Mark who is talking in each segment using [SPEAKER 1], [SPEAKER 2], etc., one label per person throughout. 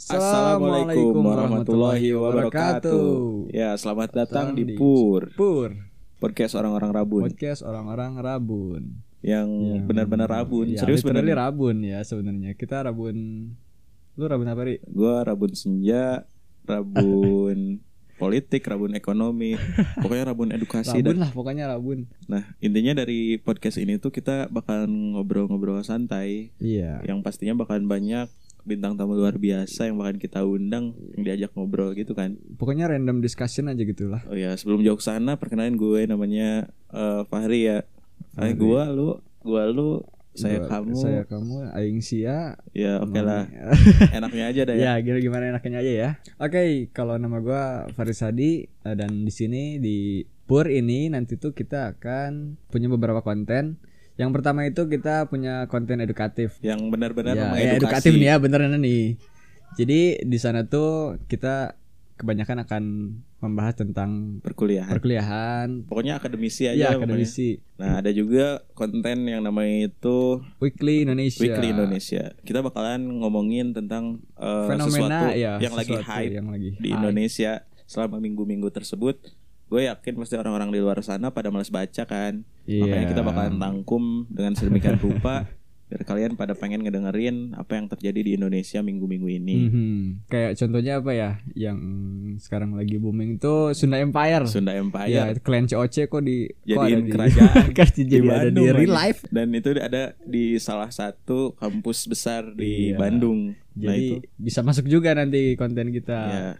[SPEAKER 1] Assalamualaikum warahmatullahi wabarakatuh.
[SPEAKER 2] Ya, selamat
[SPEAKER 1] Datang
[SPEAKER 2] datang di
[SPEAKER 1] di
[SPEAKER 2] Pur,
[SPEAKER 1] Pur
[SPEAKER 2] podcast orang-orang rabun
[SPEAKER 1] podcast orang-orang rabun.
[SPEAKER 2] yang
[SPEAKER 1] Yang-
[SPEAKER 2] Hmm, benar-benar rabun.
[SPEAKER 1] Ya,
[SPEAKER 2] Serius
[SPEAKER 1] literally
[SPEAKER 2] benar.
[SPEAKER 1] rabun ya sebenarnya. Kita rabun. Lu rabun apa ri?
[SPEAKER 2] Gua rabun senja, rabun politik, rabun ekonomi, pokoknya rabun edukasi
[SPEAKER 1] rabun
[SPEAKER 2] dan
[SPEAKER 1] lah pokoknya rabun.
[SPEAKER 2] nah, intinya dari podcast ini tuh kita bakalan ngobrol-ngobrol santai
[SPEAKER 1] Iya.
[SPEAKER 2] yang pastinya bakalan banyak bintang tamu luar biasa yang bakalan kita undang yang diajak ngobrol gitu kan.
[SPEAKER 1] Pokoknya random discussion aja gitulah.
[SPEAKER 2] Oh ya, sebelum jauh ke sana perkenalin gue namanya eh, Fahri ya. Eh
[SPEAKER 1] Fahri.
[SPEAKER 2] gua lu, gua lu, saya
[SPEAKER 1] Gua-
[SPEAKER 2] kamu.
[SPEAKER 1] Saya kamu aing sia.
[SPEAKER 2] Ya oke lah, enaknya aja dah ya.
[SPEAKER 1] ya, gila gimana enaknya aja ya. Oke, kalau nama gua Faris Hadi eh, dan di sini di Pur ini nanti tuh kita akan punya beberapa konten. Yang pertama itu kita punya konten edukatif.
[SPEAKER 2] Yang benar-benar
[SPEAKER 1] ya,
[SPEAKER 2] mengedukasi.
[SPEAKER 1] ya, edukatif nih ya beneran nih. Jadi di sana tuh kita kebanyakan akan membahas tentang
[SPEAKER 2] perkuliahan.
[SPEAKER 1] perkuliahan,
[SPEAKER 2] Pokoknya akademisi aja
[SPEAKER 1] ya
[SPEAKER 2] lah pokoknya.
[SPEAKER 1] akademisi,
[SPEAKER 2] Nah, ada juga konten yang namanya itu
[SPEAKER 1] Weekly Indonesia,
[SPEAKER 2] Weekly Indonesia. Kita bakalan ngomongin tentang eh, sesuatu
[SPEAKER 1] fenomena ya
[SPEAKER 2] yang lagi
[SPEAKER 1] sesuatu
[SPEAKER 2] hype
[SPEAKER 1] yang lagi
[SPEAKER 2] di
[SPEAKER 1] hype.
[SPEAKER 2] Indonesia selama minggu-minggu tersebut. Gue yakin pasti orang-orang di luar sana pada males baca kan.
[SPEAKER 1] Iya.
[SPEAKER 2] Makanya kita bakalan rangkum dengan sedemikian rupa biar kalian pada pengen ngedengerin apa yang terjadi di Indonesia minggu-minggu ini.
[SPEAKER 1] Mhm. Kayak contohnya apa ya yang sekarang lagi booming tuh Sunda Empire.
[SPEAKER 2] Sunda
[SPEAKER 1] ya,
[SPEAKER 2] Empire
[SPEAKER 1] klan COC kok di kok
[SPEAKER 2] jadiin
[SPEAKER 1] ada di-
[SPEAKER 2] kerajaan
[SPEAKER 1] Kan jadi
[SPEAKER 2] di
[SPEAKER 1] ada di
[SPEAKER 2] Bandung
[SPEAKER 1] real
[SPEAKER 2] lagi. Nah,
[SPEAKER 1] life.
[SPEAKER 2] dan itu ada di salah satu kampus besar di
[SPEAKER 1] Iya.
[SPEAKER 2] Bandung. nah
[SPEAKER 1] Jadi
[SPEAKER 2] itu
[SPEAKER 1] bisa masuk juga nanti konten kita.
[SPEAKER 2] ya.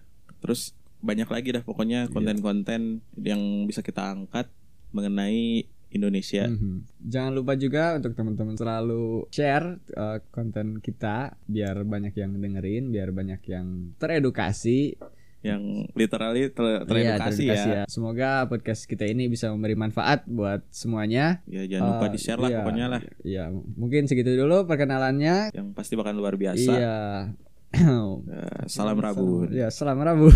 [SPEAKER 2] Terus banyak lagi dah
[SPEAKER 1] Iya.
[SPEAKER 2] pokoknya konten-konten yang bisa kita angkat mengenai Indonesia.
[SPEAKER 1] Mhm. Jangan lupa juga untuk teman-teman selalu share uh, konten kita biar banyak yang dengerin, biar banyak yang teredukasi,
[SPEAKER 2] yang literally ter- teredukasi
[SPEAKER 1] Iya,
[SPEAKER 2] ya.
[SPEAKER 1] teredukasi Semoga podcast kita ini bisa memberi manfaat buat semuanya.
[SPEAKER 2] Ya jangan lupa
[SPEAKER 1] Eh,
[SPEAKER 2] di-share lah
[SPEAKER 1] iya.
[SPEAKER 2] pokoknya lah.
[SPEAKER 1] Ya, mungkin segitu dulu perkenalannya.
[SPEAKER 2] Yang pasti bakal luar biasa.
[SPEAKER 1] Iya.
[SPEAKER 2] Eh, salam Rabu.
[SPEAKER 1] Ya, salam Rabu.